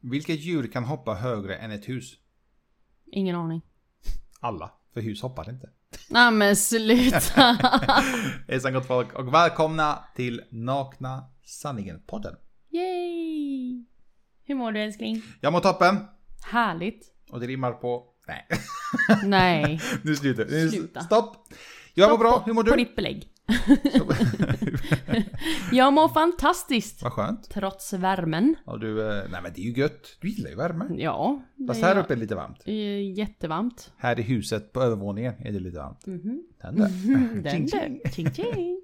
Vilket djur kan hoppa högre än ett hus? Ingen aning. Alla, för hus hoppar inte. Nej men sluta. Hejsan gott folk och välkomna till Nakna Sanningen-podden. Yay! Hur mår du älskling? Jag mår toppen Härligt. och det rimmar på... Nej, Nej. nu slutar nu- Sluta. Stopp! Jag mår bra, hur mår På du? ditt belägg. Jag mår fantastiskt. Vad skönt. Trots värmen. Och du, eh, nej men det är ju gött. Du gillar ju värme. Ja. det Fast här är- uppe är det lite varmt. är jättevarmt. Här i huset på övervåningen är det lite varmt. Mhm. Den där. Den Tjing, du. tjing. Tjing, tjing.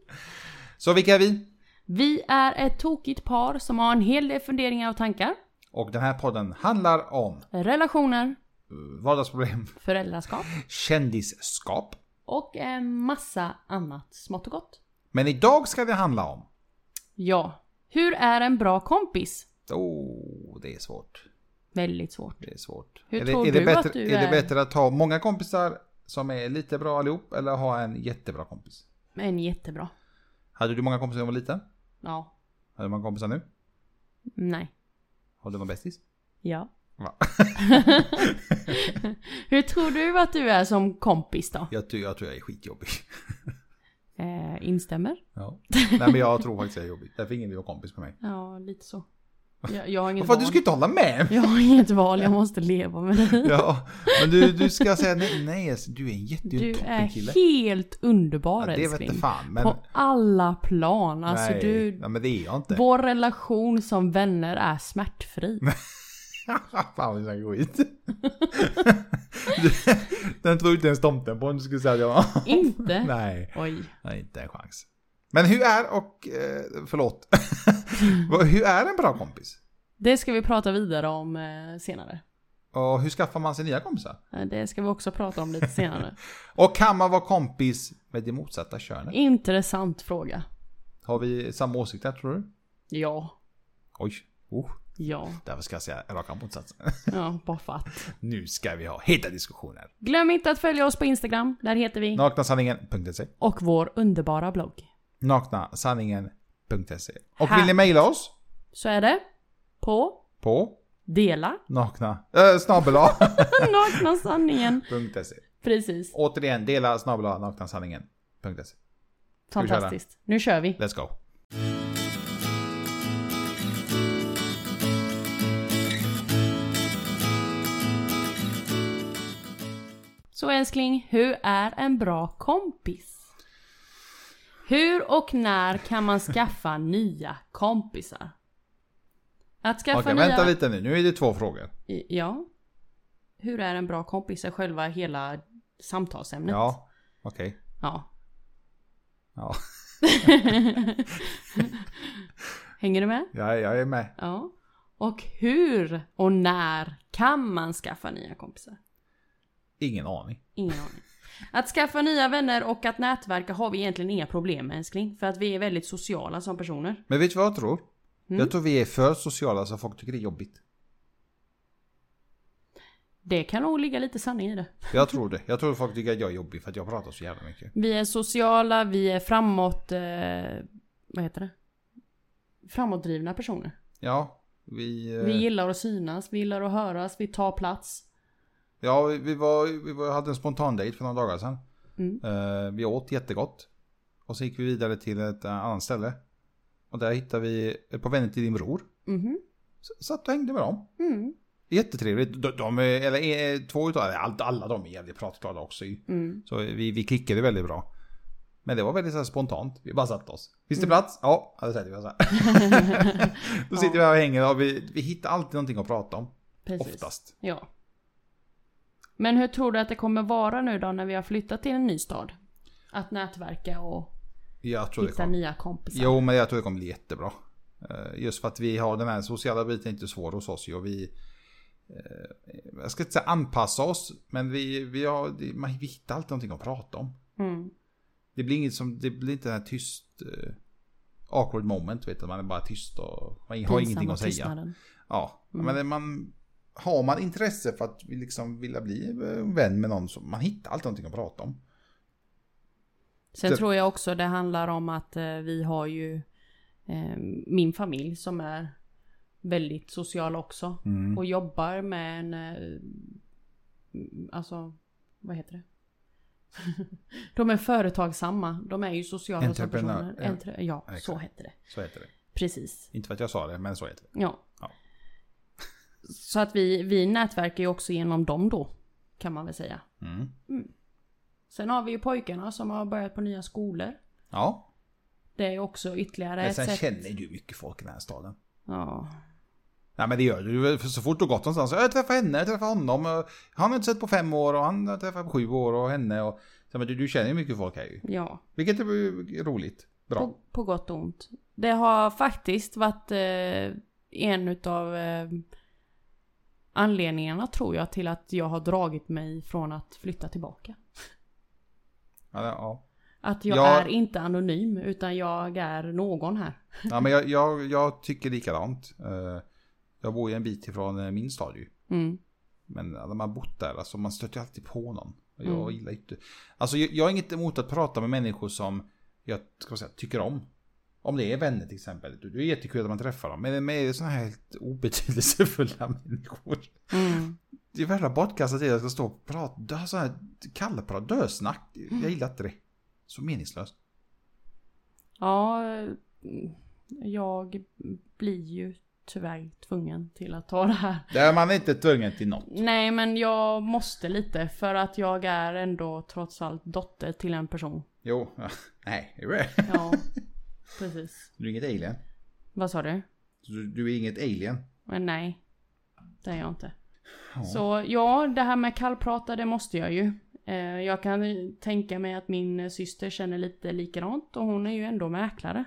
Så vilka är vi? Vi är ett tokigt par som har en hel del funderingar och tankar. Och den här podden handlar om eh, Relationer, vardagsproblem, föräldraskap kändisskap. och en massa annat smått och gott. Men idag ska det handla om... Ja. Hur är en bra kompis? Oh, det är svårt. Väldigt svårt. Det är svårt. Hur är det, tror är det du bättre, att du är? det är? bättre att ha många kompisar som är lite bra allihop eller ha en jättebra kompis? Men jättebra. Hade du många kompisar när du var liten? Ja. Har du många kompisar nu? Nej. Har du någon bästis? Ja. Va? Hur tror du att du är som kompis då? Jag, tror- jag tror jag är skitjobbig. Eh, instämmer? Ja. Nej men jag tror faktiskt jag är jobbig. Därför är ingen vill vara kompis med mig. Ja, lite så. Jag, jag har inget Varför val. du ska ju inte hålla med! Jag har inget val, jag måste leva med det. Ja, men du, du ska säga nej, nej alltså, du är en jätte, Du är toppenkille. helt underbar Ja, det vet älskling. inte fan men... På alla plan. Alltså nej, du... ja, men det är jag inte. Vår relation som vänner är smärtfri. Fan vad du skit. Den tror inte ens tomten på om du skulle säga det var. inte? Nej, Oj. nej, inte en chans. Men hur är och, eh, förlåt, Vad- hur är en bra kompis? Det ska vi prata vidare om eh, senare. Och hur skaffar man sig nya kompisar? Eh, Det ska vi också prata om lite senare. Och kan man vara kompis med det motsatta könet? Intressant fråga. Har vi samma åsikter tror du? Ja. Oj, oh, Ja. därför ska jag säga raka motsatsen. Ja, bara fatt. Nu ska vi ha heta diskussioner. Glöm inte att följa oss på Instagram. Där heter vi. Naknasanningen.se Och vår underbara blogg. Naknasanningen.se E. Och vill Här. ni mejla oss? Så är det. På. På Dela. nakna... Äh, snabel-a. Nakna sanningen. punkt se. Precis. Återigen, dela snabel-a naknasanningen.se. vi köra? Fantastiskt. Nu kör vi. E. Let's go. Så älskling, hur är en bra kompis? Hur och när kan man skaffa nya kompisar? Att skaffa Okej, nya... vänta lite nu. Nu är det två frågor. I- Ja. Hur är en bra kompis? Är själva hela samtalsämnet. Ja, okej. Ja. Ja, Hänger du med? jag, jag är med. Ja. Och hur och när kan man skaffa nya kompisar? Ingen aning. Ingen aning. Att skaffa nya vänner och att nätverka har vi egentligen inga problem med älskling. För att vi är väldigt sociala som personer. Men vet du vad jag tror? Mm. Jag tror vi är för sociala så folk tycker det är jobbigt. Det kan nog ligga lite sanning i det. Jag tror det. Jag tror folk tycker att jag är jobbig för att jag pratar så jävla mycket. Vi är sociala, vi är framåt... Eh, vad heter det? Framåtdrivna personer. Ja, vi... eh, Vi gillar att synas, vi gillar att höras, vi tar plats. Ja, vi, vi, var, vi var, hade en spontan dejt för några dagar sedan. Mm. Eh, vi åt jättegott. Och så gick vi vidare till ett eh, annat ställe. Och där hittade vi ett par vänner till din bror. Mhm. S- Satt och hängde med dem. Mm. Jättetrevligt. De, de är- eller eh, två utav, eller allt, alla de är jävligt pratglada också ju. Mm. Så vi, vi klickade väldigt bra. Men det var väldigt så här spontant. Vi bara satte oss. Finns det Mm. plats? Ja, ja, då sätter vi oss här. Då sitter vi här och hänger och vi, vi hittar alltid någonting att prata om. Precis. Oftast. Ja. Men hur tror du att det kommer vara nu då när vi har flyttat till en ny stad? Att nätverka och Jag tror det hitta kommer. nya kompisar. Jo, men jag tror det kommer bli jättebra. Eh, Just för att vi har den här sociala biten inte svår hos oss ju. och Vi, eh, jag ska inte säga anpassa oss, men vi, vi, har, det- man, vi hittar alltid någonting att prata om. Mm. Det blir inget som, det blir inte den här tyst, eh, awkward moment, vet du, man är bara tyst och man har ingenting Pinsamma att säga. tystnaden. Ja, Mm. men det- man, har man intresse för att vi liksom vilja bli eh, vän med någon, så man hittar alltid någonting att prata om. Sen Det- tror jag också det handlar om att eh, vi har ju eh, min familj som är väldigt sociala också. Mm. Och jobbar med en... eh, Alltså, vad heter det? de är företagsamma. De är ju sociala Entreprenör- som personer. Entre- ja, exakt. så heter det. Så heter det. Precis. Inte för att jag sa det, men så heter det. Ja. Ja. Så att vi, vi nätverkar ju också genom dem då. Kan man väl säga. Mm. Sen har vi ju pojkarna som har börjat på nya skolor. Ja, Det är också ytterligare men ett sen sätt. känner du mycket folk i den här staden. Ja. Nej men det gör du väl, för så fort du gått någonstans. Jag träffar henne, jag träffar honom. och Han har jag inte sett på fem år och han har jag träffat på sju år och henne och... Så, men du, du känner ju mycket folk här ju. ja. Vilket är ju roligt. Bra. På, på gott och ont. Det har faktiskt varit eh, en utav eh, anledningarna tror jag till att jag har dragit mig från att flytta tillbaka. Ja, ja. Att jag Ja. är inte anonym utan jag är någon här. ja men jag, jag, jag tycker likadant. Eh, Jag bor ju en bit ifrån eh, min stad ju. Mm. Men när man bott där, alltså man stöter ju alltid på någon. Och Jag gillar ju inte... Alltså jag, jag är inget emot att prata med människor som jag ska man säga, tycker om. Om det är vänner till exempel. Det är jättekul att man träffar dem. Men med sådana här helt obetydelsefulla människor. Mm. Det är värsta bortkastat tid att jag ska stå och prata så här kallprat, dösnack. Jag gillar inte det. Så meningslöst. Ja, eh, jag blir ju tyvärr tvungen till att ta det här. Där man är inte tvungen till något. Nej men jag måste lite för att jag är ändå trots allt dotter till en person. Jo, ja, nej, det är det. Ja, precis. Du är inget alien. Vad sa du? Du, du är inget alien. Men nej, det är jag inte. Ja. Så ja, det här med kallprata, det måste jag ju. Eh, Jag kan tänka mig att min syster känner lite likadant och hon är ju ändå mäklare.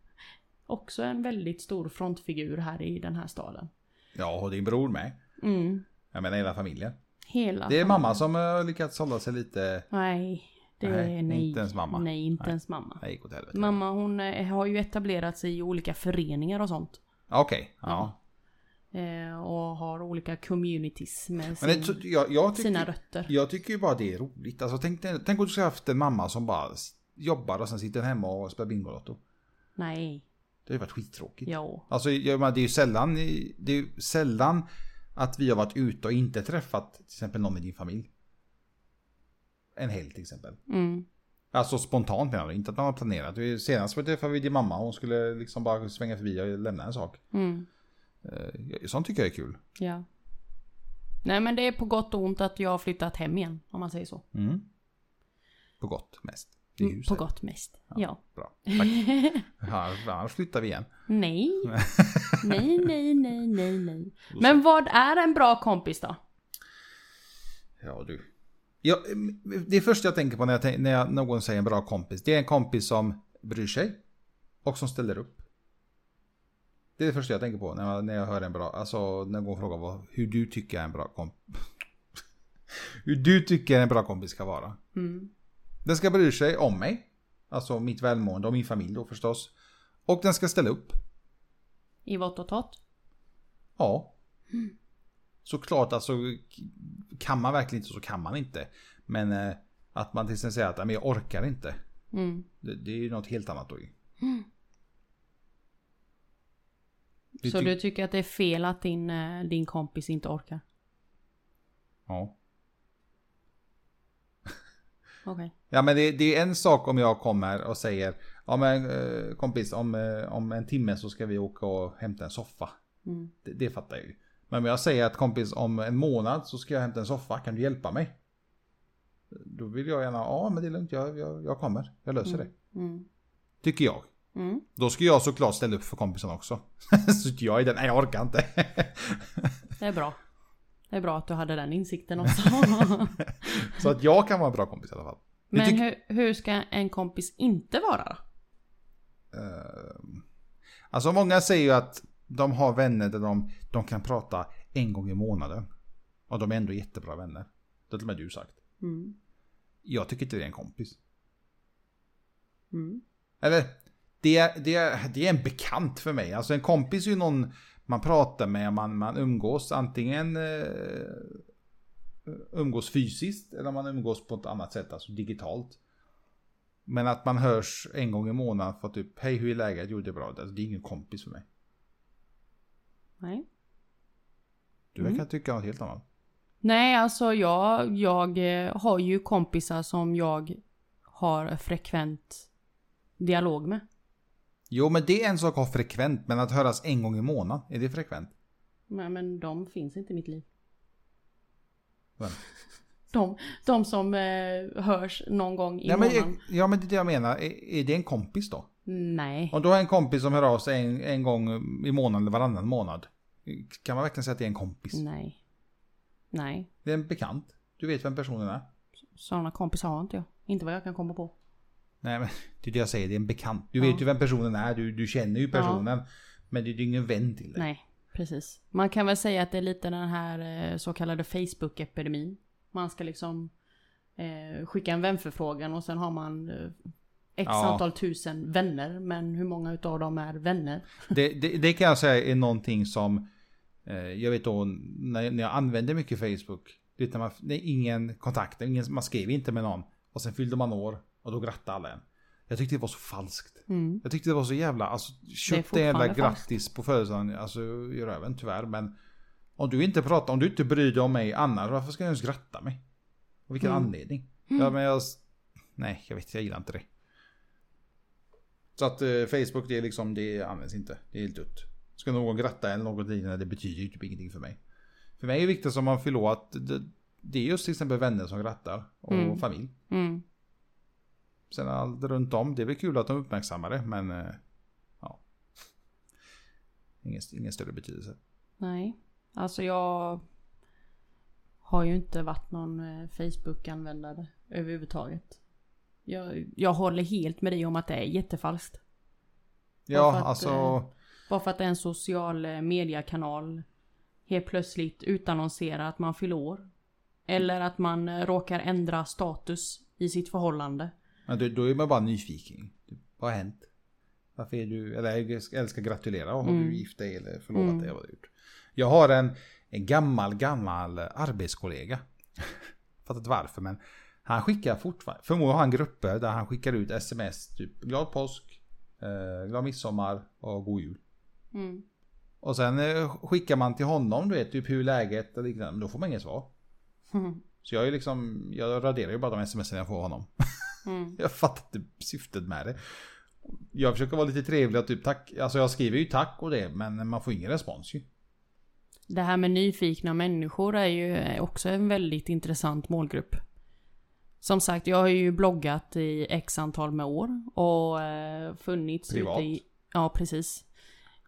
Också en väldigt stor frontfigur här i den här staden. Ja, och din bror med. Mm. Jag menar hela familjen. Hela Det är fam- mamma som har lyckats hålla sig lite... Nej, det Nej, är nej. inte ens mamma. Nej, inte Nej. ens mamma. Nej, gick åt helvete. Mamma hon eh, har ju etablerat sig i olika föreningar och sånt. Okej, ja. Eh, Och har olika communities med Men det, sin, så- jag, jag, sina tycker, rötter. jag tycker ju bara det är roligt. Alltså, tänk, dig- tänk om du skulle haft en mamma som bara s- jobbar och sen sitter hemma och spelar Bingolotto. Nej, Det har ju varit skittråkigt. ja. Alltså jag menar, det är ju sällan, det är ju sällan att vi har varit ute och inte träffat till exempel någon i din familj. En helg till exempel. Mm. Alltså spontant menar du, inte att man har planerat. Det är ju- Senast var det för vi din mamma, hon skulle liksom bara svänga förbi och lämna en sak. Mm. Eh, Sånt tycker jag är kul. Ja. Nej men det är på gott och ont att jag har flyttat hem igen, om man säger så. Mm. På gott mest. Det är ju Mm, På så. gott mest. Ja. Bra, tack. Här- Annars flyttar vi igen. Nej. nej, nej, nej, nej, nej. Men vad är en bra kompis då? Ja du. Ja, mm, det första jag tänker på när, jag, tän- när jag, någon säger en bra kompis, det är en kompis som bryr sig och som ställer upp. Det är det första jag tänker på när jag, när jag hör en bra, alltså när någon frågar vad, hur du tycker en bra kompis... hur du tycker en bra kompis ska vara. Mm. Den ska bry sig om mig, alltså mitt välmående och min familj då förstås. Och den ska ställa upp. I vått och tott? Ja. Mm. Såklart, alltså kan man verkligen inte så kan man inte. Men eh, att man till exempel säger att "Nej, men jag orkar inte. Mm. Det, det är ju något helt annat då ju. Du Så ty- du tycker att det är fel att din, eh, din kompis inte orkar? Ja. Okej. ja men det, det är en sak om jag kommer och säger Ja men eh, kompis om, eh, om en timme så ska vi åka och hämta en soffa. Mm. Det, det fattar jag ju. Men om jag säger att kompis om en månad så ska jag hämta en soffa, kan du hjälpa mig? Då vill jag gärna, ja men det är lugnt, jag, jag, jag kommer, jag löser det. Mm. Tycker jag. Mm. Då ska jag såklart ställa upp för kompisen också. så inte jag är den, nej jag orkar inte. Det är bra. Det är bra att du hade den insikten också. så att jag kan vara en bra kompis i alla fall. Det men tycker- hur, hur ska en kompis inte vara då? Ehm, Alltså många säger ju att de har vänner där de, de kan prata en gång i månaden. Och de är ändå jättebra vänner. Det har till och med du sagt. Mm. Jag tycker inte det är en kompis. Mm. Eller, det är, det, är, det är en bekant för mig. Alltså en kompis är ju någon man pratar med, man, man umgås antingen eh, umgås fysiskt eller man umgås på ett annat sätt, alltså digitalt. Men att man hörs en gång i månaden för typ hej hur är läget? Jo det är bra. Alltså, det är ingen kompis för mig. Nej. Du verkar Mm. tycka något helt annat. Nej, alltså jag, jag eh, har ju kompisar som jag har frekvent dialog med. Jo, men det är en sak att ha frekvent, men att höras en gång i månaden, är det frekvent? Nej, men de finns inte i mitt liv. Vem? De, de som eh, hörs någon gång i Ja men, eh, månaden. ja, men det är det jag menar. Är, är det en kompis då? Nej. Om du har en kompis som hör av sig en, en gång i månaden eller varannan månad. Kan man verkligen säga att det är en kompis? Nej. Nej. Det är en bekant. Du vet vem personen är. Sådana kompisar har inte jag. Inte vad jag kan komma på. Nej, men det är det jag säger. Det är en bekant. Du Ja. vet ju vem personen är. Du, du känner ju personen. Men det är ju ingen vän till dig. Nej, precis. Man kan väl säga att det är lite den här eh, så kallade Facebook-epidemin. Man ska liksom eh, skicka en vänförfrågan och sen har man eh, x Ja. antal tusen vänner. Men hur många utav dem är vänner? Det, det, det kan jag säga är någonting som eh, jag vet då när, när jag använde mycket Facebook. Du vet när man, det är ingen kontakt, ingen, man skrev inte med någon. Och sen fyllde man år och då grattade alla en. Jag tyckte det var så falskt. Mm. Jag tyckte det var så jävla, alltså köp det fortfarande jävla falskt. grattis på födelsedagen, alltså i röven tyvärr men om du inte pratar, om du inte bryr dig om mig annars, varför ska jag ens gratta mig? Av vilken Mm. anledning? Ja men jag, nej jag vet, jag gillar inte det. Så att eh, Facebook det är liksom, det används inte, det är helt dött. Ska någon gratta eller något liknande, det betyder ju typ ingenting för mig. För mig är det viktigt som man fyller år att det, det är just till exempel vänner som grattar och Mm. familj. Mm. Sen allt runt om, det är väl kul att de uppmärksammar det, men eh, ja. Ingen, ingen större betydelse. Nej, alltså jag har ju inte varit någon eh, Facebook-användare överhuvudtaget. Jag, jag håller helt med dig om att det är jättefalskt. Ja, för att, alltså. eh, Bara för att det är en social eh, mediekanal helt plötsligt utannonserar att man fyller år. Eller att man eh, råkar ändra status i sitt förhållande. Men då, då är man bara nyfiken. Vad har hänt? Varför är du, eller jag älskar gratulera. Har Mm. du gift dig eller förlovat Mm. dig? Vad har du gjort? Jag har en, en gammal, gammal arbetskollega. Fattar inte varför men. Han skickar fortfarande, förmodligen har han grupper där han skickar ut sms. Typ glad påsk, eh, glad midsommar och god jul. Mm. Och sen eh, skickar man till honom, du vet, typ hur är läget och liknande. Men Då får man inget svar. Så jag är liksom, jag raderar ju bara de sms jag får av honom. Mm. Jag fattar inte syftet med det. Jag försöker vara lite trevlig och typ tack, alltså jag skriver ju tack och det, men man får ingen respons ju. Det här med nyfikna människor är ju eh, också en väldigt intressant målgrupp. Som sagt, jag har ju bloggat i x antal med år och eh, funnits Privat. ute i... Ja, precis.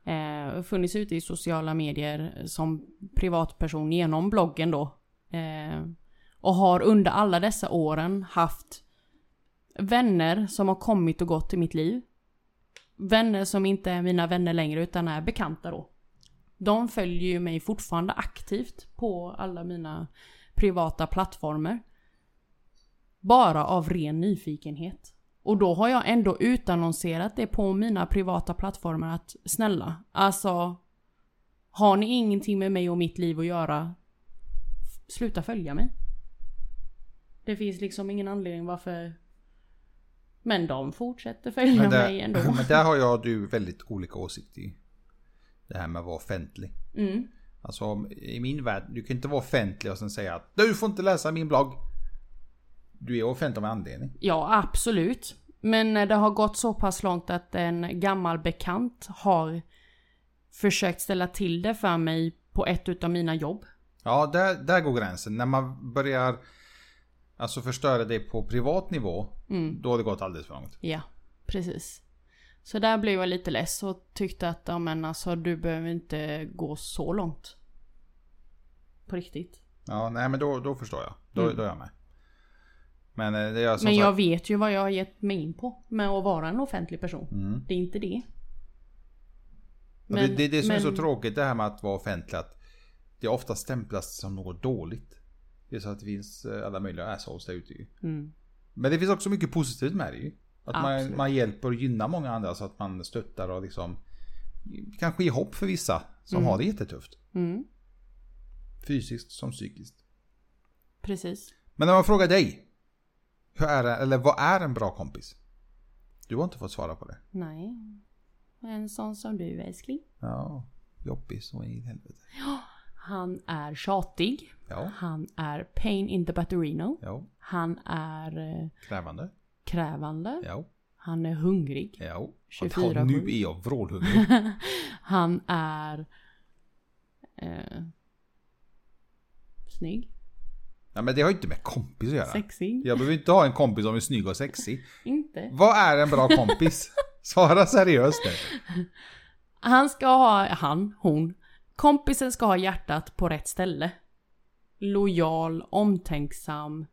Eh, funnits ute i sociala medier som privatperson genom bloggen då. Eh, och har under alla dessa åren haft vänner som har kommit och gått i mitt liv. Vänner som inte är mina vänner längre utan är bekanta då. De följer ju mig fortfarande aktivt på alla mina privata plattformar. Bara av ren nyfikenhet. Och då har jag ändå utannonserat det på mina privata plattformar att snälla, alltså har ni ingenting med mig och mitt liv att göra, f- sluta följa mig. Det finns liksom ingen anledning varför... Men de fortsätter följa Men mig där, ändå. men där har jag och du väldigt olika åsikter i. Det här med att vara offentlig. Mm. Alltså om- i min värld, du kan inte vara offentlig och sen säga att du får inte läsa min blogg. Du är offentlig av en anledning. Ja, absolut. Men när det har gått så pass långt att en gammal bekant har försökt ställa till det för mig på ett utav mina jobb. Ja, där, där går gränsen. När man börjar alltså förstöra det på privat nivå, Mm. då har det gått alldeles för långt. Ja, precis. Så där blev jag lite less och tyckte att, ja men alltså du behöver inte gå så långt. På riktigt. Ja, nej men då, då förstår jag. Då, då är jag med. Men eh, det är som Mm. men jag sagt, vet ju vad jag har gett mig in på med att vara en offentlig person. Det är inte det. och Mm. det, det är det som är så men- tråkigt det här med att vara offentlig. Att det ofta stämplas som något dåligt. Det är så att det finns eh, alla möjliga assholes där ute ju. Mm. Men det finns också mycket positivt med det ju. Att man, Absolut. man hjälper och gynnar många andra så att man stöttar och liksom kanske ger hopp för vissa som har det jättetufft. Mm. Fysiskt som psykiskt. Precis. Men om jag frågar dig. Hur är det, eller vad är en bra kompis? Du har inte fått svara på det. Nej. En sån som du älskling. Ja. Jobbig så in i helvete. Han är tjatig. Ja, Han är pain in the batterino. ja. Han är eh, Krävande. krävande. Ja, Han är hungrig. ja. Att, 24, ha, nu sju. är jag vrålhungrig. Han är... Eh, snygg. ja, men det har ju inte med kompis att göra. Sexig. Jag behöver inte ha en kompis som är snygg och sexig. Inte. Vad är en bra kompis? Svara seriöst nu. Han ska ha... Han. Hon. Kompisen ska ha hjärtat på rätt ställe. Lojal, omtänksam,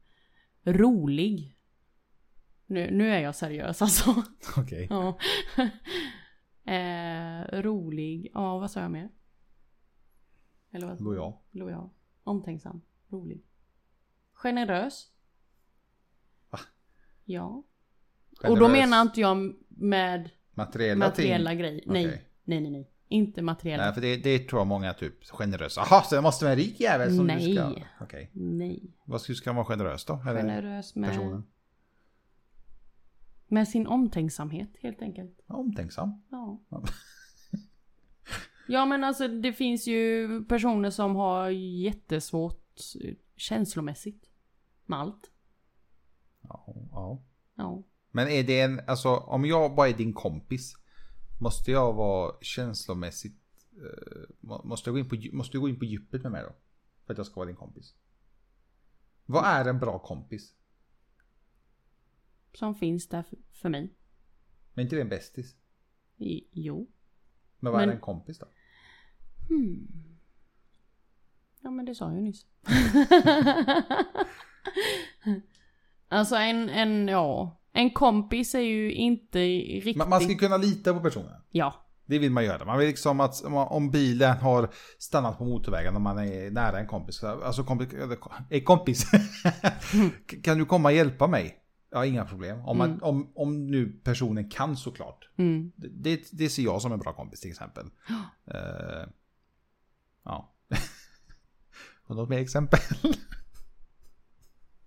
rolig. Nu, nu är jag seriös alltså. Okej. Ja. eh, rolig. Ja, vad sa jag mer? Eller vad? Lojal. Lojal. Omtänksam. Rolig. Generös. Va? Ja. Och då Generös. menar inte jag med materiella, materiella ting. grejer. Nej. Okej. nej, nej, nej. Inte materiella. Nej, för det, det tror jag många typ generösa. Jaha, så det måste vara en rik jävel som du Nej. ska... Okej. Nej. Vad ska, ska man vara generös då? Eller Generös med, personen? med sin omtänksamhet helt enkelt. Ja, Omtänksam. Ja. Ja. ja men alltså det finns ju personer som har jättesvårt eh, känslomässigt. Med allt. Ja, ja. Ja. Men är det en... Alltså om jag bara är din kompis. Måste jag vara känslomässigt... eh, må- måste, jag gå in på, dju- måste du gå in på djupet med mig då? För att jag ska vara din kompis. Vad är en bra kompis? Som finns där för, för mig. Men inte det en bästis? I, jo. Men vad är Men- en kompis då? Hmm. Ja men det sa jag ju nyss. alltså en, en, ja. En kompis är ju inte riktigt... Man, man ska kunna lita på personen. Ja. Det vill man göra. Man vill liksom att om- om bilen har stannat på motorvägen och man är nära en kompis. så- Alltså kompis, eller kom- "Hej, kompis. kan du komma och hjälpa mig? Ja, inga problem. Om, man, om, om nu personen kan såklart. Mm. Det- Det, det ser jag som en bra kompis till exempel. Eh, ja. Har du något mer exempel?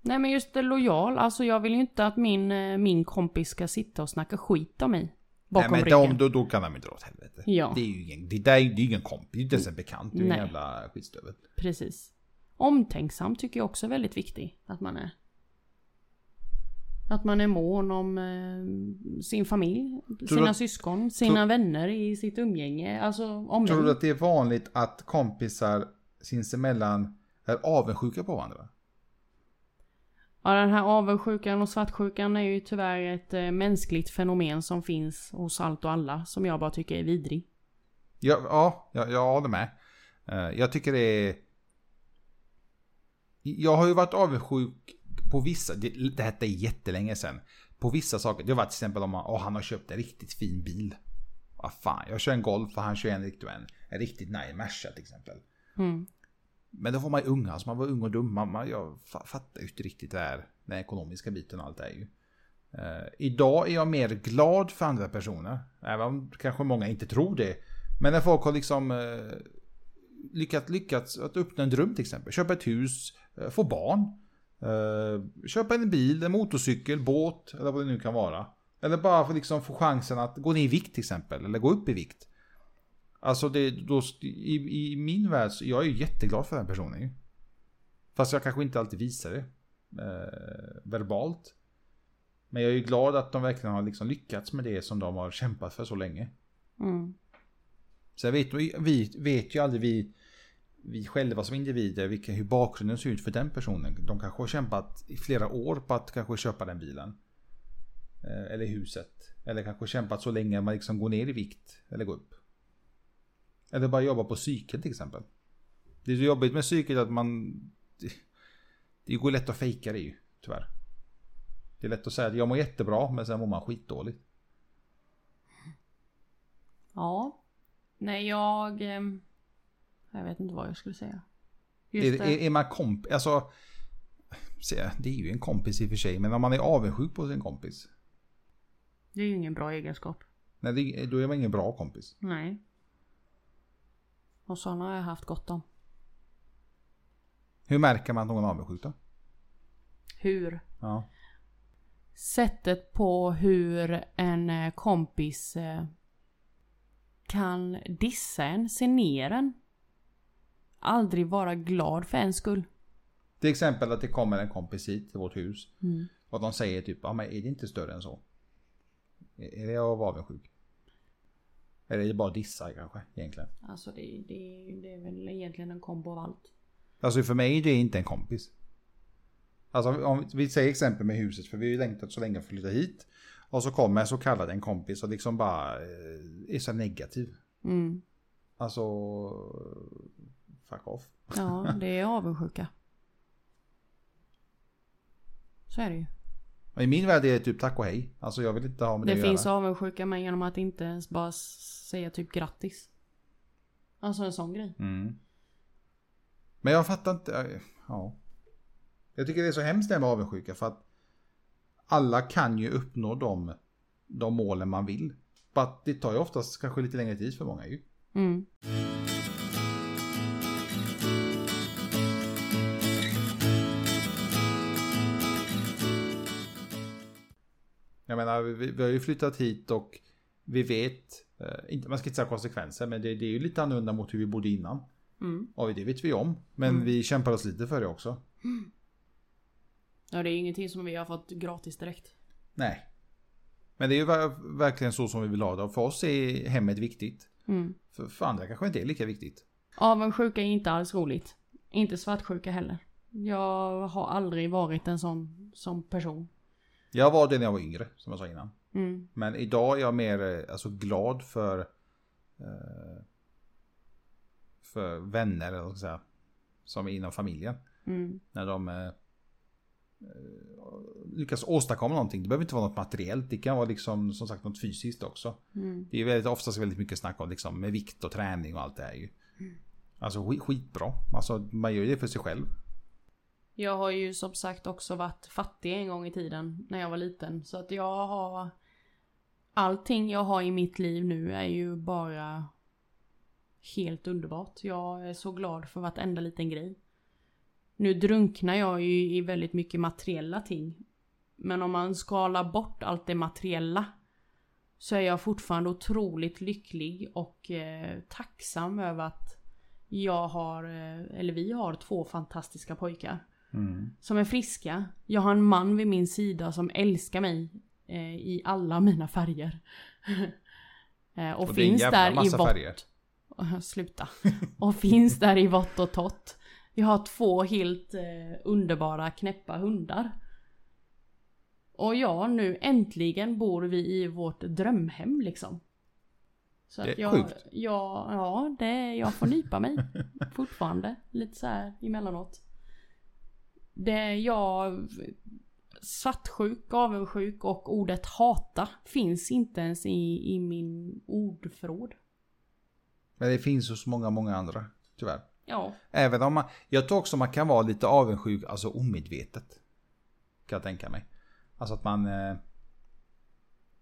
Nej men just det lojal. Alltså jag vill ju inte att min, eh, min kompis ska sitta och snacka skit om mig. Bakom Nej, men ryggen. de, då, då kan de ju dra åt helvete. Ja. Det är ju ingen, det där är ju det är ju ingen kompis, det är ju inte ens en bekant. Det är ju en Nej. jävla skitstövel. Precis. Omtänksam tycker jag också är väldigt viktig att man är. Att man är mån om eh, sin familj, du sina att- syskon, sina vänner i sitt umgänge. Alltså om Tror du att det är vanligt att kompisar sinsemellan är avundsjuka på varandra? Ja, den här avundsjukan och svartsjukan är ju tyvärr ett eh, mänskligt fenomen som finns hos allt och alla. Som jag bara tycker är vidrig. Ja, ja jag, jag håller med. Eh, Jag tycker det är... Jag har ju varit avundsjuk på vissa, det, det här är jättelänge sedan. På vissa saker, det har varit till exempel om man, åh, han har köpt en riktigt fin bil. Vad fan, jag kör en Golf och han kör en riktigt, en, en riktigt nice Merca till exempel. Mm. Men då var man ju ung, alltså man var ung och dum. Man, man, jag fa- fattar ju inte riktigt det här, den ekonomiska biten och allt det är ju. Eh, idag är jag mer glad för andra personer. Även om kanske många inte tror det. Men när folk har liksom eh, lyckats, lyckats att uppnå en dröm till exempel. Köpa ett hus, eh, få barn. Eh, köpa en bil, en motorcykel, båt eller vad det nu kan vara. Eller bara för liksom få chansen att gå ner i vikt till exempel. Eller gå upp i vikt. Alltså det, då, i, i min värld, så jag är ju jätteglad för den personen ju. Fast jag kanske inte alltid visar det. Eh, verbalt. Men jag är ju glad att de verkligen har liksom lyckats med det som de har kämpat för så länge. Mm. Sen vet vi, vi vet ju aldrig vi, vi själva som individer vilka, hur bakgrunden ser ut för den personen. De kanske har kämpat i flera år på att kanske köpa den bilen. Eh, Eller huset. Eller kanske kämpat så länge man liksom går ner i vikt eller går upp. Eller bara jobba på psyket till exempel. Det är så jobbigt med psyket att man... Det, det går lätt att fejka det ju, tyvärr. Det är lätt att säga att jag mår jättebra men sen mår man skitdåligt. Ja. Nej, jag... ehm, Jag vet inte vad jag skulle säga. Just Är, det. är, är man kompis, alltså... se, Det är ju en kompis i och för sig, men om man är avundsjuk på sin kompis. Det är ju ingen bra egenskap. Nej, det, då är man ingen bra kompis. Nej. Och sådana har jag haft gott om. Hur märker man att någon är avundsjuk då? Hur? Ja. Sättet på hur en eh, kompis eh, kan dissa en, se ner en. Aldrig vara glad för en skull. Till exempel att det kommer en kompis hit till vårt hus. Mm. Och de säger typ, ja men är det inte större än så? Är är det jag var avundsjuk? Eller är det bara dissar kanske egentligen? Alltså det, det, det är väl egentligen en kombo av allt. Alltså för mig är det inte en kompis. Alltså om vi säger exempel med huset, för vi har ju längtat så länge att flytta hit. Och så kommer en så kallad en kompis och liksom bara eh, är så negativ. Mm. Alltså, fuck off. Ja, det är avundsjuka. Så är det ju. Och I min värld är det typ tack och hej. Alltså jag vill inte ha med det, Det att finns göra. avundsjuka men genom att inte ens bara s- säga typ grattis. Alltså en sån grej. Mm. Men jag fattar inte. eh, Ja. Jag tycker det är så hemskt det här med avundsjuka för att alla kan ju uppnå de, de målen man vill. Bara att det tar ju oftast kanske lite längre tid för många ju. Mm. Jag menar, vi, vi har ju flyttat hit och vi vet, eh, inte, man ska inte säga konsekvenser, men det, det är ju lite annorlunda mot hur vi bodde innan. Mm. Och det vet vi om, men Mm. vi kämpar oss lite för det också. Ja det är ingenting som vi har fått gratis direkt. Nej. Men det är ju ver- verkligen så som vi vill ha det. Och för oss är hemmet viktigt. Mm. För, för andra kanske inte är lika viktigt. Avundsjuka är inte alls roligt. Inte svartsjuka heller. Jag har aldrig varit en sån, sån person. Jag var det när jag var yngre, som jag sa innan. Mm. Men idag är jag mer eh, alltså, glad för, eh, för vänner, eller vad man ska säga, som är inom familjen. Mm. När de eh, eh, lyckas åstadkomma någonting. Det behöver inte vara något materiellt. Det kan vara liksom, som sagt något fysiskt också. Mm. Det är väldigt, oftast väldigt mycket snack om liksom, med vikt och träning och allt det här ju. Alltså skit, skitbra. Alltså man gör ju det för sig själv. Jag har ju som sagt också varit fattig en gång i tiden när jag var liten. Så att jag har... Allting jag har i mitt liv nu är ju bara helt underbart. Jag är så glad för vartenda liten grej. Nu drunknar jag ju i väldigt mycket materiella ting. Men om man skalar bort allt det materiella så är jag fortfarande otroligt lycklig och eh, tacksam över att jag har, eh, eller vi har två fantastiska pojkar som är friska. Jag har en man vid min sida som älskar mig eh, i alla mina färger. eh, och, Och det är en finns jävla där i massa vått. färger. Sluta. Och finns där i vått och tott. Jag har två helt eh, underbara knäppa hundar. Och ja, nu äntligen bor vi i vårt drömhem liksom. Så Det är att jag, sjukt. Ja, ja det, jag får nypa mig fortfarande. Lite så här emellanåt. Det jag... Svartsjuk, avundsjuk och ordet hata finns inte ens i, i min ordförråd. Men det finns hos många, många andra. Tyvärr. Ja. Även om man, jag tror också man kan vara lite avundsjuk, alltså omedvetet. Kan jag tänka mig. Alltså att man... Eh,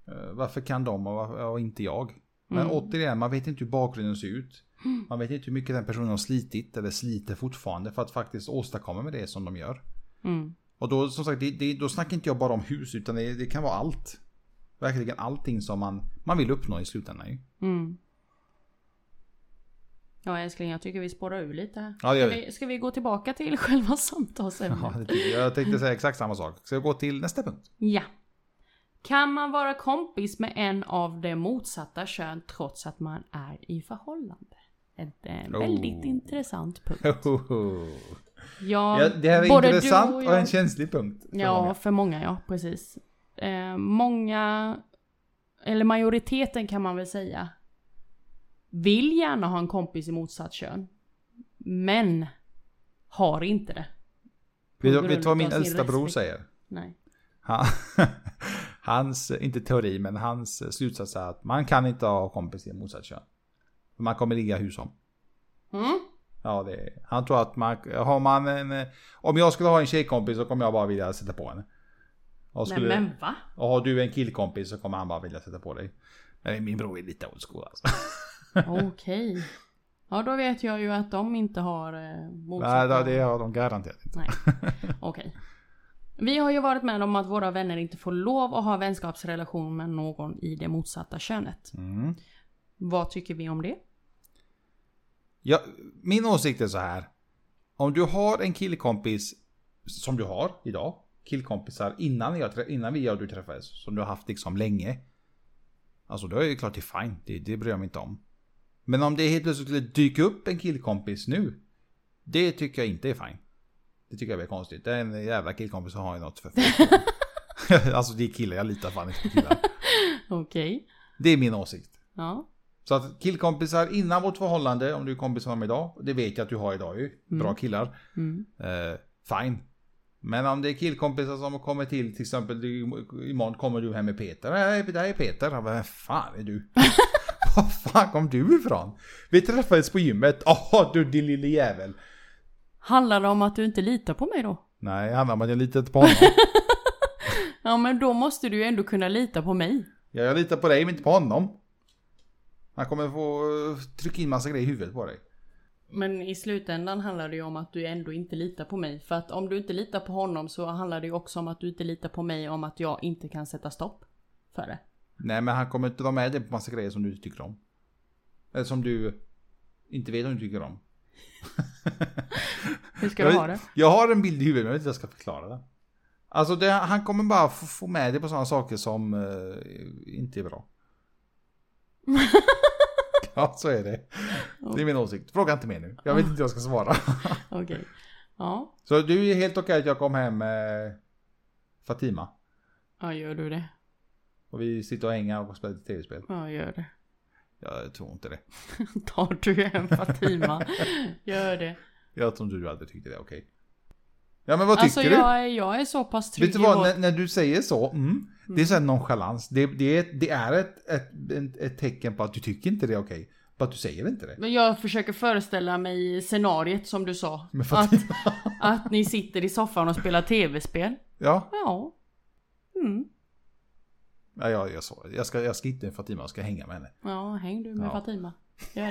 eh, varför kan de och, varför, och inte jag? Men Mm. återigen, man vet inte hur bakgrunden ser ut. Man vet inte hur mycket den personen har slitit eller sliter fortfarande för att faktiskt åstadkomma med det som de gör. Mm. Och då som sagt, det, det, då snackar inte jag bara om hus utan det, det kan vara allt. Verkligen allting som man, man vill uppnå i slutändan ju. Mm. Ja älskling, jag tycker vi spårar ur lite här. Ja, det gör Ska vi. vi, ska vi gå tillbaka till själva samtalsämnet? Ja, det tycker jag. jag tänkte säga exakt samma sak. Ska jag gå till nästa punkt? Ja. Kan man vara kompis med en av det motsatta kön trots att man är i förhållande? Ett eh, väldigt Oh. intressant punkt. Hohoho. Ja, Ja, det här är både du intressant och, jag- en känslig punkt. för Ja, många. för många ja, precis. Eh, många, eller majoriteten kan man väl säga, vill gärna ha en kompis i motsatt kön. Men har inte det. Vet du- på vet du vad grund min av sin äldsta bror respekt. säger? Nej. Han, hans, inte teori, men hans slutsats är att man kan inte ha kompis i motsatt kön. För Man kommer ligga hur som. Mm? Ja, det är. Han tror att man, har man en, eh, om jag skulle ha en tjejkompis så kommer jag bara vilja sätta på henne. Och, Nej skulle, men va? och har du en killkompis så kommer han bara vilja sätta på dig. Men min bror är lite old school alltså. Okej. Ja då vet jag ju att de inte har eh, Nej, motsatta. det det har de garanterat inte. Nej. Okej. Vi har ju varit med om att våra vänner inte får lov att ha vänskapsrelation med någon i det motsatta könet. Mm. Vad tycker vi om det? Ja, min åsikt är så här. Om du har en killkompis som du har idag. Killkompisar innan, jag, trä- innan vi och du träffades. Som du har haft liksom länge. Alltså då är det klart det är fine. Det, det bryr jag mig inte om. Men om det helt plötsligt skulle dyka upp en killkompis nu. Det tycker jag inte är fine. Det tycker jag är konstigt. Det är en jävla killkompis som har ju något för Alltså det är killar, jag litar fan inte på killar. Okej. Det är min åsikt. Ja. Så att killkompisar innan vårt förhållande, om du är kompis med mig idag, det vet jag att du har idag ju, bra killar. Mm. Eh, fine. Men om det är killkompisar som kommer till, till exempel du, imorgon kommer du hem med Peter. Nej, det där är Peter. Ja, Vem fan är du? Var fan kom du ifrån? Vi träffades på gymmet. Åh, du din lille jävel. Handlar det om att du inte litar på mig då? Nej, det handlar om att jag litar inte på honom. Ja men då måste du ju ändå kunna lita på mig. Ja, jag litar på dig, men inte på honom. Han kommer få eh, trycka in massa grejer i huvudet på dig. Men i slutändan handlar det ju om att du ändå inte litar på mig. För att om du inte litar på honom så handlar det ju också om att du inte litar på mig om att jag inte kan sätta stopp för det. Nej men han kommer inte vara med dig på massa grejer som du inte tycker om. Eller som du inte vet om du tycker om. Hur ska jag, du vet- ha det? Jag har en bild i huvudet men jag vet inte hur jag ska förklara den. Alltså det, han kommer bara få, få med dig på sådana saker som eh, inte är bra. ja så är det. Det är min åsikt. Fråga inte mer nu. Jag vet inte hur jag ska svara. Okej. Ja. Så du är helt okej att jag kom hem med Fatima. ja, gör du det? Och vi sitter och hänger och spelar ett tv-spel. Ja, gör det. Jag tror inte det. Tar du en Fatima? Gör det. Jag tror inte du hade tyckt det är okej. Ja men vad tycker Alltså du? jag är, jag är så pass trygg Vet du i vad, vår- när, när du säger så, mm, det är sån här nonchalans. Det, det är, det är ett, ett, ett, ett tecken på att du tycker inte det är okej. På att du säger inte det. Men jag försöker föreställa mig scenariet som du sa. Men för Att, att ni sitter i soffan och spelar tv-spel. Ja, Ja. Mm. ja jag, jag, så, jag, ska, jag ska inte med Fatima, jag ska hänga med henne. Ja, häng du med Ja. Fatima. Gör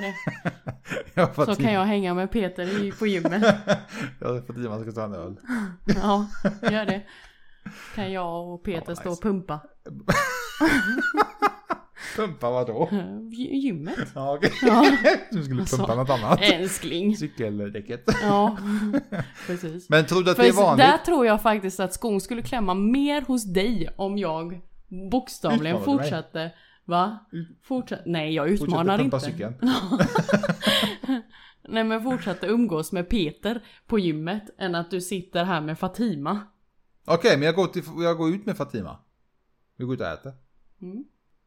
det. Ja, Så Fatima, kan jag hänga med Peter i- på gymmet. ja, Fatima ska ta en öl. Ja, gör det. Kan jag och Peter Ja, stå och nice. pumpa. Pumpa vadå? Eh, gy- Gymmet. Ja, okej. Ja. Du skulle Alltså, pumpa något annat. Älskling. Cykeldäcket. Ja, precis. Men tror du att det är För vanligt? där tror jag faktiskt att skon skulle klämma mer hos dig om jag bokstavligen Utmanade mig. fortsatte. Va? Fortsatt, nej jag utmanar Fortsätter pumpa inte. cykeln. Nej men fortsatte umgås med Peter på gymmet än att du sitter här med Fatima. Okej, men jag går, till, jag går ut med Fatima. Vi går ut och äter. Mm.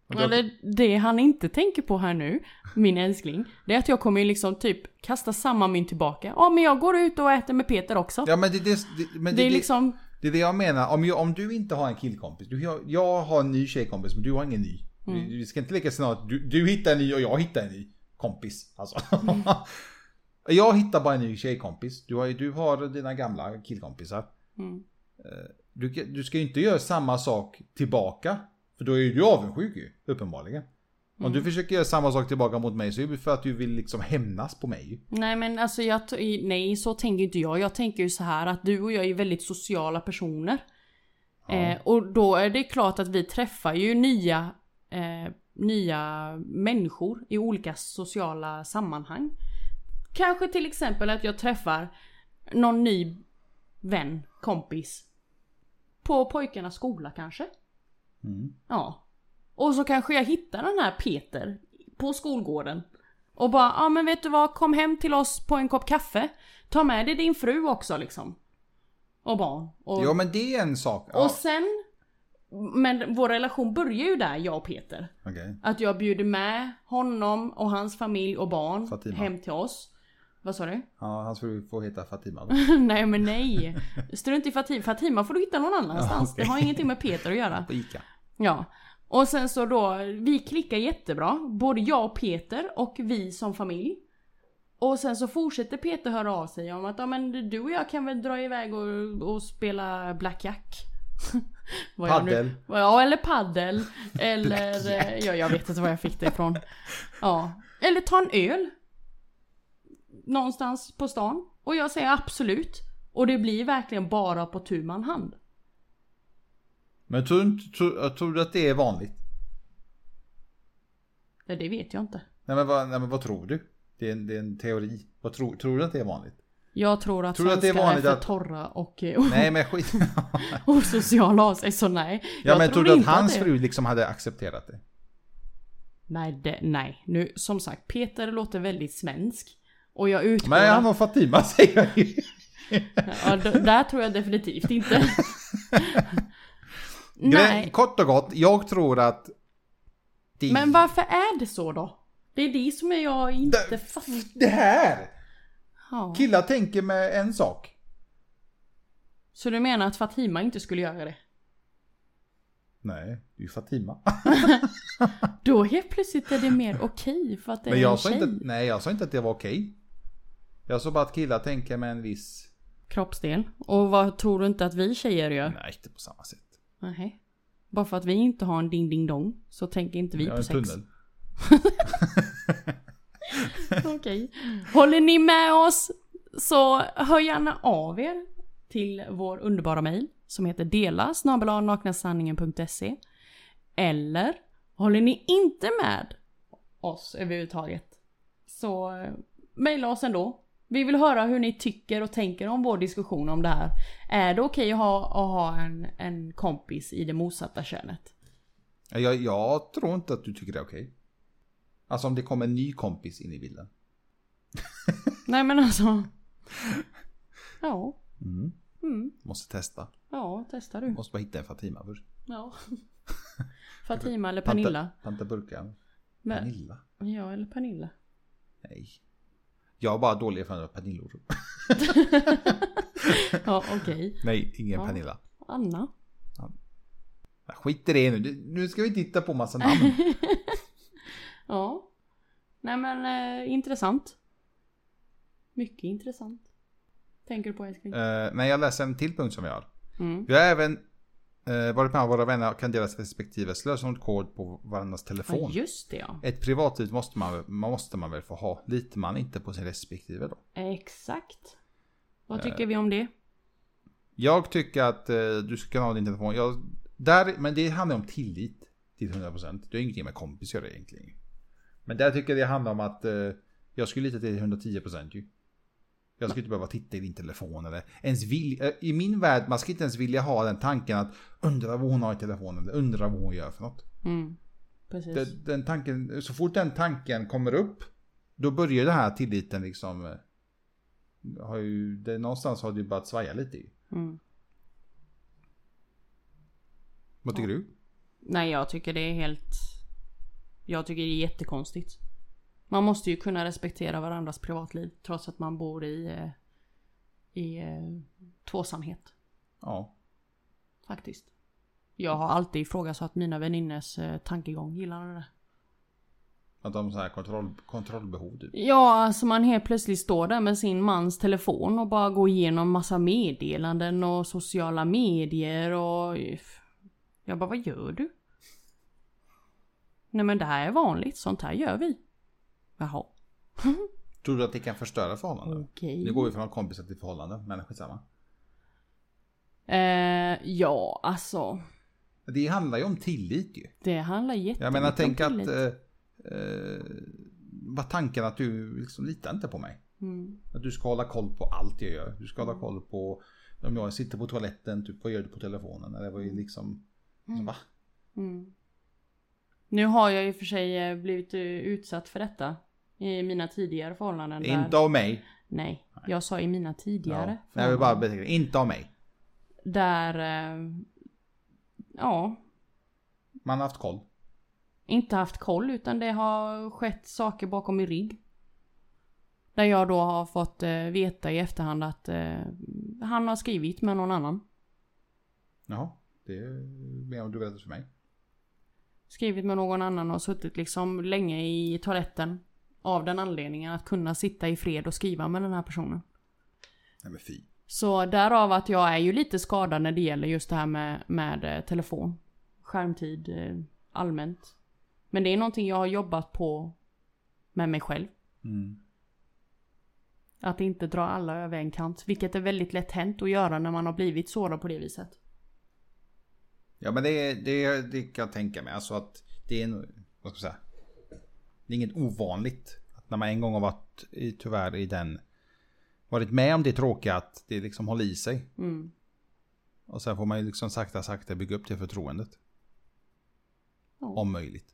Och då- Eller det han inte tänker på här nu, min älskling, det är att jag kommer ju liksom typ kasta samma mynt tillbaka. Ja men jag går ut och äter med Peter också. Ja men det, det, det, men det, är liksom, Det är det jag menar. Om, jag, om du inte har en killkompis. Du, jag, jag har en ny tjejkompis men du har ingen ny. Mm. Vi- Vi ska inte leka scenariot att du, du hittar en ny och jag hittar en ny kompis. Alltså. Mm. jag hittar bara en ny tjejkompis. Du har, ju- du har dina gamla killkompisar. Mm. Eh, Du, kan- du ska ju inte göra samma sak tillbaka. För då är ju du avundsjuk ju, uppenbarligen. Om Mm. du försöker göra samma sak tillbaka mot mig så är det för att du vill liksom hämnas på mig. ju. nej men alltså jag, t- i- nej så tänker inte jag. Jag tänker ju så här att du och jag är väldigt sociala personer. Eh, och då är det klart att vi träffar ju nya, eh, nya människor i olika sociala sammanhang. Kanske till exempel att jag träffar någon ny vän, kompis. På pojkarnas skola kanske. Mm. Ja. Och så kanske jag hittar den här Peter på skolgården. Och bara, ja ah, men vet du vad, kom hem till oss på en kopp kaffe. Ta med dig din fru också liksom. Och barn. Och Ja men det är en sak. Ja, och sen, men vår relation börjar ju där, jag och Peter. okej. Att jag bjuder med honom och hans familj och barn Fatima. hem till oss. Vad sa du? ja han skulle få heta Fatima då. nej men nej. Strunt i Fatima. Fatima får du hitta någon annanstans. Det har ingenting med Peter att göra. På Ica. Ja. Och sen så då, vi klickar jättebra. Både jag och Peter och vi som familj. Och sen så fortsätter Peter höra av sig om att ja, men du och jag kan väl dra iväg och, och spela blackjack. Vad jag nu- Paddel. Ja eller paddel. Eller, eh, ja, jag vet inte var jag fick det ifrån. Ja. Eller ta en öl. Någonstans på stan. Och jag säger absolut. Och det blir verkligen bara på tu man hand. Men tror du, inte- tror, tror du att det är vanligt? Nej, det vet jag inte. Nej men vad, nej, men vad tror du? Det är en, det är en teori. Vad tror, tror du att det är vanligt? Jag tror att Tror du att det är svenskar är, vanligt för att- torra och eh, o- Nej men skit. ja osociala av sig, så nej. Jag men tror du att inte hans det- fru liksom hade accepterat det? Nej, det, nej. Nu, som sagt, Peter låter väldigt svensk. Och jag utgår... Men han Men var Fatima säger jag ju. ja, d- där tror jag definitivt inte. Gre- nej. Kort och gott, jag tror att... det- Men varför är det så då? Det är det som jag inte Det- fattar. Det här! Ja. Killar tänker med en sak. Så du menar att Fatima inte skulle göra det? Nej, det är ju Fatima. Då helt plötsligt är det mer okej för att det Men är en jag sa, tjej. inte, nej, jag sa inte att det var okej. Jag sa bara att killar tänker med en viss... Kroppsdel. Och vad tror du inte att vi tjejer gör? Nej, inte på samma sätt. Typ Nej. Bara för att vi inte har en ding ding dong så tänker inte vi Jag på har en sex. tunnel. Okej. Håller ni med oss så hör gärna av er till vår underbara mail som heter dela snabbelanaknasanningen.se Eller håller ni inte med oss överhuvudtaget så eh, mejla oss ändå. Vi vill höra hur ni tycker och tänker om vår diskussion om det här. Är det okej att ha, att ha en, en kompis i det motsatta könet? Jag, jag tror inte att du tycker det är okej. Alltså om det kommer en ny kompis in i bilden. Nej men alltså. Ja. Mm. Mm. Måste testa. Ja, testar du. Måste bara hitta en Fatima först. Ja. Fatima eller Panta- Pernilla. Panta burkan. Men, Pernilla? ja, eller Pernilla. Nej. Jag har bara dålig erfarenhet av Pernillor. Ja, okej. Nej, ingen Ja. Pernilla. Anna. Men Skit i det nu. Det- Nu ska vi titta på massa namn. Ja. Nej men, eh, intressant. Mycket intressant. Tänker du på älskling? Eh, men jag läser en till punkt som vi har. Mm. Vi har även eh, varit med våra vänner och kan deras respektive lösenordkod på varandras Ja, telefon. just det ja. Ett privatliv måste man, väl- måste man väl få ha? Litar man inte på sin respektive då? Exakt. Eh. Vad tycker vi om det? Jag tycker att eh, du ska kunna ha din telefon. Jag, där, men det handlar om tillit till 100%. Det är ingenting med kompisar egentligen. Men där tycker jag det handlar om att eh, jag skulle lita till 110% ju. Jag skulle inte behöva titta i din telefon eller ens vilja. I min värld, man ska inte ens vilja ha den tanken att undra vad hon har i telefonen eller undra vad hon gör för något. Mm. Precis. Den, den tanken, så fort den tanken kommer upp, då börjar den här tilliten liksom... eh, Har ju, det, någonstans har det ju börjat svaja lite ju. Mm. Vad tycker du? Nej, jag tycker det är helt... Jag tycker det är jättekonstigt. Man måste ju kunna respektera varandras privatliv trots att man bor i, eh, i eh, tvåsamhet Ja. faktiskt. Jag har alltid ifrågasatt mina väninners eh, tankegång gillande det. Att de har så här kontroll, kontrollbehov typ. Ja, alltså man helt plötsligt står där med sin mans telefon och bara går igenom massa meddelanden och sociala medier och... Jag bara, vad gör du? Nej men det här är vanligt, sånt här gör vi. Jaha, Tror du att det kan förstöra förhållanden? okej. Nu går vi från kompisar till förhållanden, men skitsamma. Eh, ja, alltså. Det handlar ju om tillit ju. Det handlar jättemycket Jag menar, tänk om att... tillit. Eh, eh, vad tanken att du liksom litar inte på mig. Mm. Att du ska hålla koll på allt jag gör. Du ska hålla koll på om jag sitter på toaletten, typ vad gör du på telefonen? Eller vad är liksom... Mm. Va? Mm. Nu har jag ju för sig eh, blivit eh, utsatt för detta. I mina tidigare förhållanden. där- Inte av mig. Nej, jag sa i mina tidigare. Ja. Nej, jag vill bara beteckna. Inte av mig. Där... eh, Ja, Man har haft koll. inte haft koll utan det har skett saker bakom min rygg. Där jag då har fått eh, veta i efterhand att eh, han har skrivit med någon annan. Jaha. Det är mer om du berättar för mig. skrivit med någon annan och suttit liksom länge i toaletten. Av den anledningen att kunna sitta i fred och skriva med den här personen. Nej men fy. Så därav att jag är ju lite skadad när det gäller just det här med, med eh, telefon. Skärmtid eh, allmänt. Men det är någonting jag har jobbat på med mig själv. Mm. Att inte dra alla över en kant. Vilket är väldigt lätt hänt att göra när man har blivit sårad på det viset. Ja men det, det, det kan jag tänka mig. Alltså att det är en, vad ska jag säga? Det är inget ovanligt. Att när man en gång har varit i, tyvärr i den, varit med om det tråkiga att det liksom håller i sig. Mm. Och sen får man ju liksom sakta sakta bygga upp det förtroendet. Ja. Om möjligt.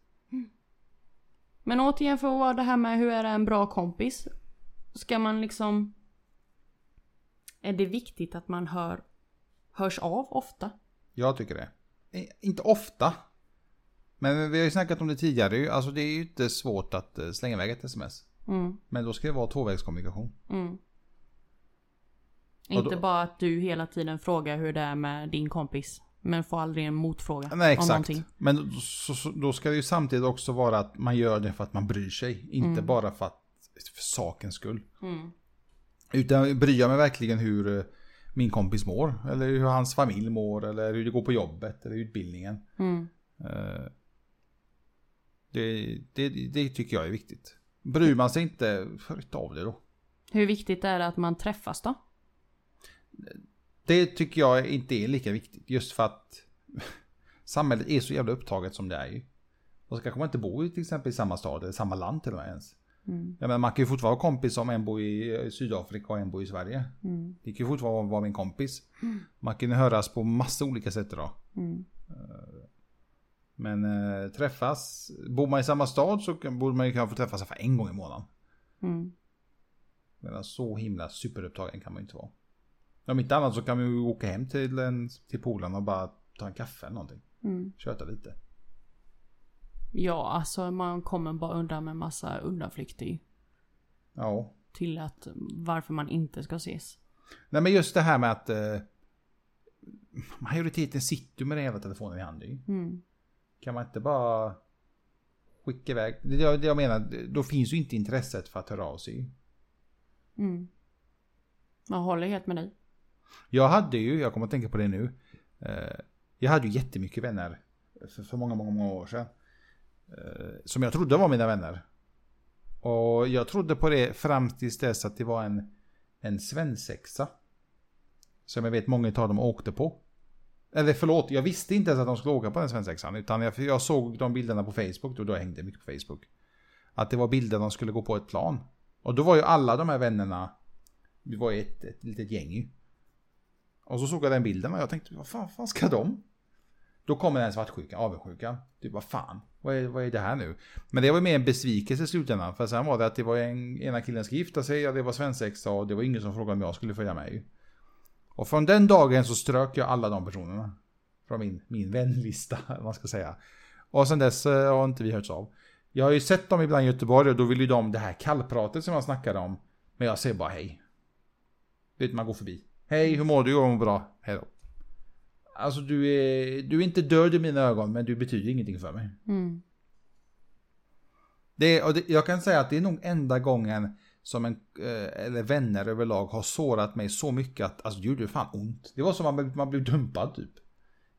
Men återigen för att vara det här med hur är en bra kompis? Ska man liksom... Är det viktigt att man hör, hörs av ofta? Jag tycker det. Eh, Inte ofta. Men vi har ju snackat om det tidigare ju. Alltså det är ju inte svårt att eh, slänga iväg ett sms. Mm, Men då ska det vara tvåvägskommunikation. mm. då- Inte bara att du hela tiden frågar hur det är med din kompis. Men får aldrig en motfråga Nej om exakt. någonting. Men då- så, så, då ska det ju samtidigt också vara att man gör det för att man bryr sig. Inte bara för att för sakens skull. Mm. Utan bryr jag mig verkligen hur eh, min kompis mår. Eller hur hans familj mår. Eller hur det går på jobbet. Eller utbildningen. Mm. Eh, Det, det, det tycker jag är viktigt. Bryr man sig inte, förut av det då. Hur viktigt är det att man träffas då? Det tycker jag inte är lika viktigt. Just för att samhället är så jävla upptaget som det är ju. Och så kanske man inte bor i till exempel i samma stad eller samma land till och med ens. Mm. Jag menar, man kan ju fortfarande vara kompis om en bor i eh, Sydafrika och en bor i Sverige. Mm. Det kan ju fortfarande vara min kompis. Man kan ju höras på massa olika sätt idag. Eh, Mm. Men eh, träffas, bor man i samma stad så kan- borde man ju kunna få träffas för en gång i månaden. Mm. Men så himla superupptagen kan man ju inte vara. Om inte annat så kan vi ju åka hem till, en- till polen och bara ta en kaffe eller någonting. Mm. Köta lite. Ja, alltså man kommer bara undan med massa undanflykter ju. Ja. till att varför man inte ska ses. Nej men just det här med att eh, majoriteten sitter ju med den jävla telefonen i handen ju. Mm. Kan man inte bara skicka iväg? Det jag, det jag menar, då finns ju inte intresset för att höra av sig. Mm. Jag håller helt med dig. Jag hade ju, jag kommer att tänka på det nu. Eh, jag hade ju jättemycket vänner för, för många, många, många år sedan. Eh, som jag trodde var mina vänner. Och jag trodde på det fram tills dess att det var en, en svensexa. Som jag vet många av dem åkte på. Eller förlåt, jag visste inte ens att de skulle åka på den svensexan. Utan jag, jag såg de bilderna på Facebook, då, då hängde jag mycket på Facebook. Att det var bilder de skulle gå på ett plan. Och då var ju alla de här vännerna, vi var ju ett, ett litet gäng ju. Och så såg jag den bilden och jag tänkte, vad fan, fan ska de? Då kommer den här svartsjukan, avundsjukan. Typ, vad fan, vad är, vad är det här nu? Men det var ju mer en besvikelse i slutändan. För sen var det att det var en, ena killen ska gifta sig och det var svensexa och det var ingen som frågade om jag skulle följa med. ju. Och från den dagen så strök jag alla de personerna. Från min, min vänlista, vad man ska säga. Och sen dess eh, har inte vi hörts av. Jag har ju sett dem ibland i Göteborg och då vill ju de det här kallpratet som jag snackade om. Men jag säger bara hej. Du vet, man går förbi. Hej, hur mår du? Jag mår bra. Hej då. Alltså du är, du är inte död i mina ögon, men du betyder ingenting för mig. Mm. Det, är- och det, jag kan säga att det är nog enda gången som en, eh, eller vänner överlag har sårat mig så mycket att alltså, det gjorde fan ont. Det var som att man, man blev dumpad typ.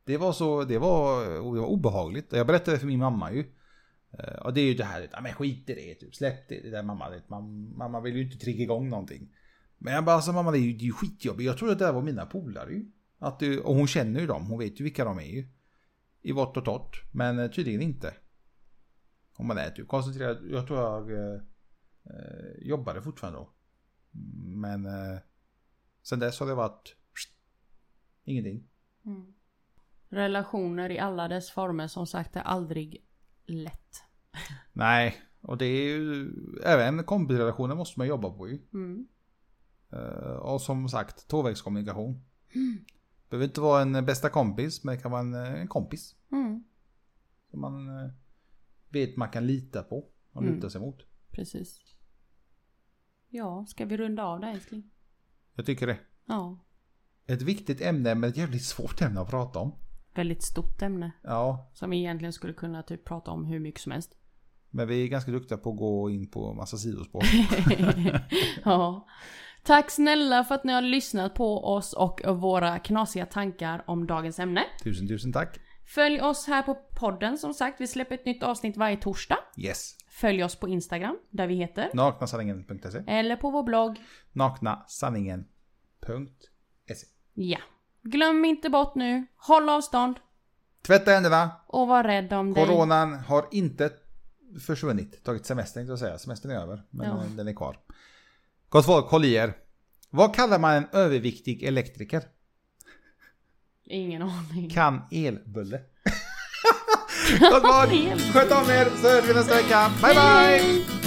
Det var så, det var, och det var obehagligt. Jag berättade för min mamma ju. Eh, Och det är ju det här, ja men skit i det, typ. släpp det, det där mamma. vet. Man, mamma vill ju inte trigga igång någonting. Men jag bara, alltså mamma det är ju, det är ju skitjobbigt. Jag trodde att det där var mina polare ju. Att, det- och hon känner ju dem, hon vet ju vilka de är ju. I vått och torrt, men eh, tydligen inte. Om man är typ koncentrerad. Jag tror jag eh, eh, jobbade fortfarande då. Men eh, sen dess har det varit ingenting. Mm. Relationer i alla dess former som sagt är aldrig lätt. Nej, och det är ju även kompisrelationer måste man jobba på ju. Mm. Eh, och som sagt, tvåvägskommunikation. Behöver inte vara en bästa kompis, men det kan vara en, eh, en kompis Mm. som man eh, vet man kan lita på och Mm. luta sig mot. Precis. Ja, ska vi runda av där älskling? Jag tycker det. Ja. Ett viktigt ämne, men ett jävligt svårt ämne att prata om. Väldigt stort ämne. Ja, Som vi egentligen skulle kunna typ prata om hur mycket som helst. Men vi är ganska duktiga på att gå in på massa sidospår. ja. Tack snälla för att ni har lyssnat på oss och våra knasiga tankar om dagens ämne. tusen, tusen tack. Följ oss här på podden som sagt. Vi släpper ett nytt avsnitt varje torsdag. Yes. Följ oss på Instagram där vi heter. Naknasanningen.se. Eller på vår blogg. Naknasanningen.se. Ja. Glöm inte bort nu. Håll avstånd Tvätta händerna. och var rädd om dig. Coronan har inte försvunnit, tagit semester tänkte jag säga. Semestern är över, men Ja. eh, den är kvar. Gott folk, håll i er. Vad kallar man en överviktig elektriker? Ingen aning. Kan elbulle. Gott folk, sköt om er så hörs vi nästa vecka. Bye bye! Hej!